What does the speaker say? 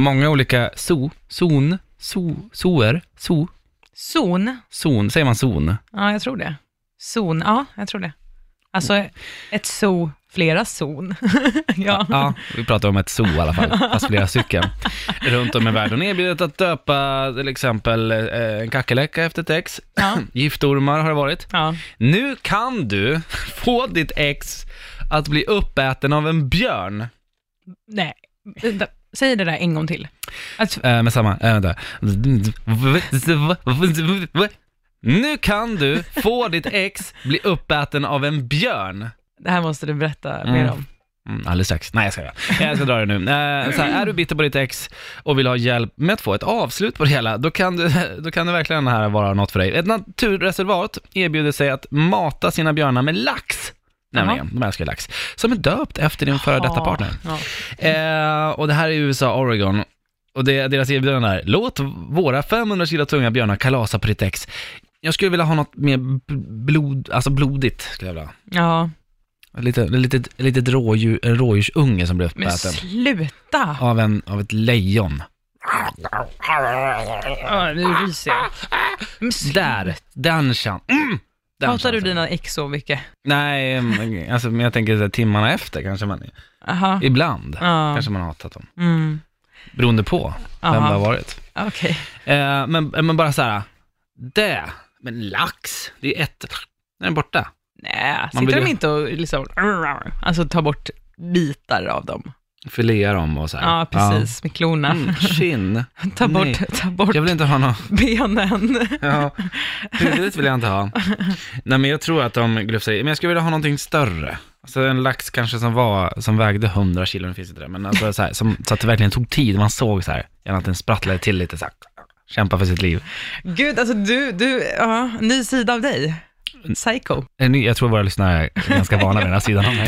många olika zoo, zon, zoo, zoer, zoo, Zon. zon, säger man zon? Ja, jag tror det. Zon, ja, jag tror det. Alltså, ett zoo, flera zon. ja. Ja, vi pratar om ett zoo i alla fall, fast flera stycken. Runt om i världen erbjudet att döpa till exempel eh, en kackerlacka efter ett ex. Ja. Giftormar har det varit. ja. Nu kan du få ditt ex att bli uppäten av en björn. Nej, vänta. säg det där en gång till. Att, Eh, med samma, eh, vänta. Nu kan du få ditt ex bli uppäten av en björn. det här måste du berätta Mm. mer om. Mm, alldeles strax. Nej, jag ska Jag ska dra det nu. Eh, så här, är du bitter på ditt ex och vill ha hjälp med att få ett avslut på det hela, då kan, du, då kan det verkligen här vara något för dig. Ett naturreservat erbjuder sig att mata sina björnar med lax. Nämligen, de älskar ju lax. Som är döpt efter din före detta Ja, partner. Ja. Eh, och det här är i USA, Oregon. Och det, deras erbjudande är, låt våra 500 kilo tunga björnar kalasa på ditt ex. Jag skulle vilja ha något mer b- blod, alltså blodigt, skulle jag vilja ha. ja, Lite, lite, lite rådjur, en rådjursunge som blir men uppäten sluta! av, en, av ett lejon. Ja, nu ryser jag. Men sluta. Där, den chan. Mm! Den Hatar du chansen. dina ex så mycket? Nej, mm, alltså, men jag tänker så här, timmarna efter kanske man, Aha. ibland, Ja. kanske man har hatat dem. Mm. Beroende på vem det har Aha. varit. Okej. Eh, men, men bara så här, det, men lax, det är ett, den är borta. Nej, Man sitter blir- de inte och liksom, alltså tar bort bitar av dem? Filea dem och så här. Ja, precis, med klorna. Ja. Mm, skinn. Ta bort, nej. ta bort Jag vill inte ha någon benen. Ja, huvudet vill jag inte ha. Nej men jag tror att de glufsar i, men jag skulle vilja ha någonting större. Alltså en lax kanske som var, som vägde 100 kilo, nu finns inte det, men alltså så, här, som, så att det verkligen tog tid, man såg så här, gärna att den sprattlade till lite så här, kämpa för sitt liv. Gud, alltså du, du, ja, ny sida av dig. Psycho. Eh, nu- Jag tror våra lyssnare är ganska vana vid den här sidan av mig.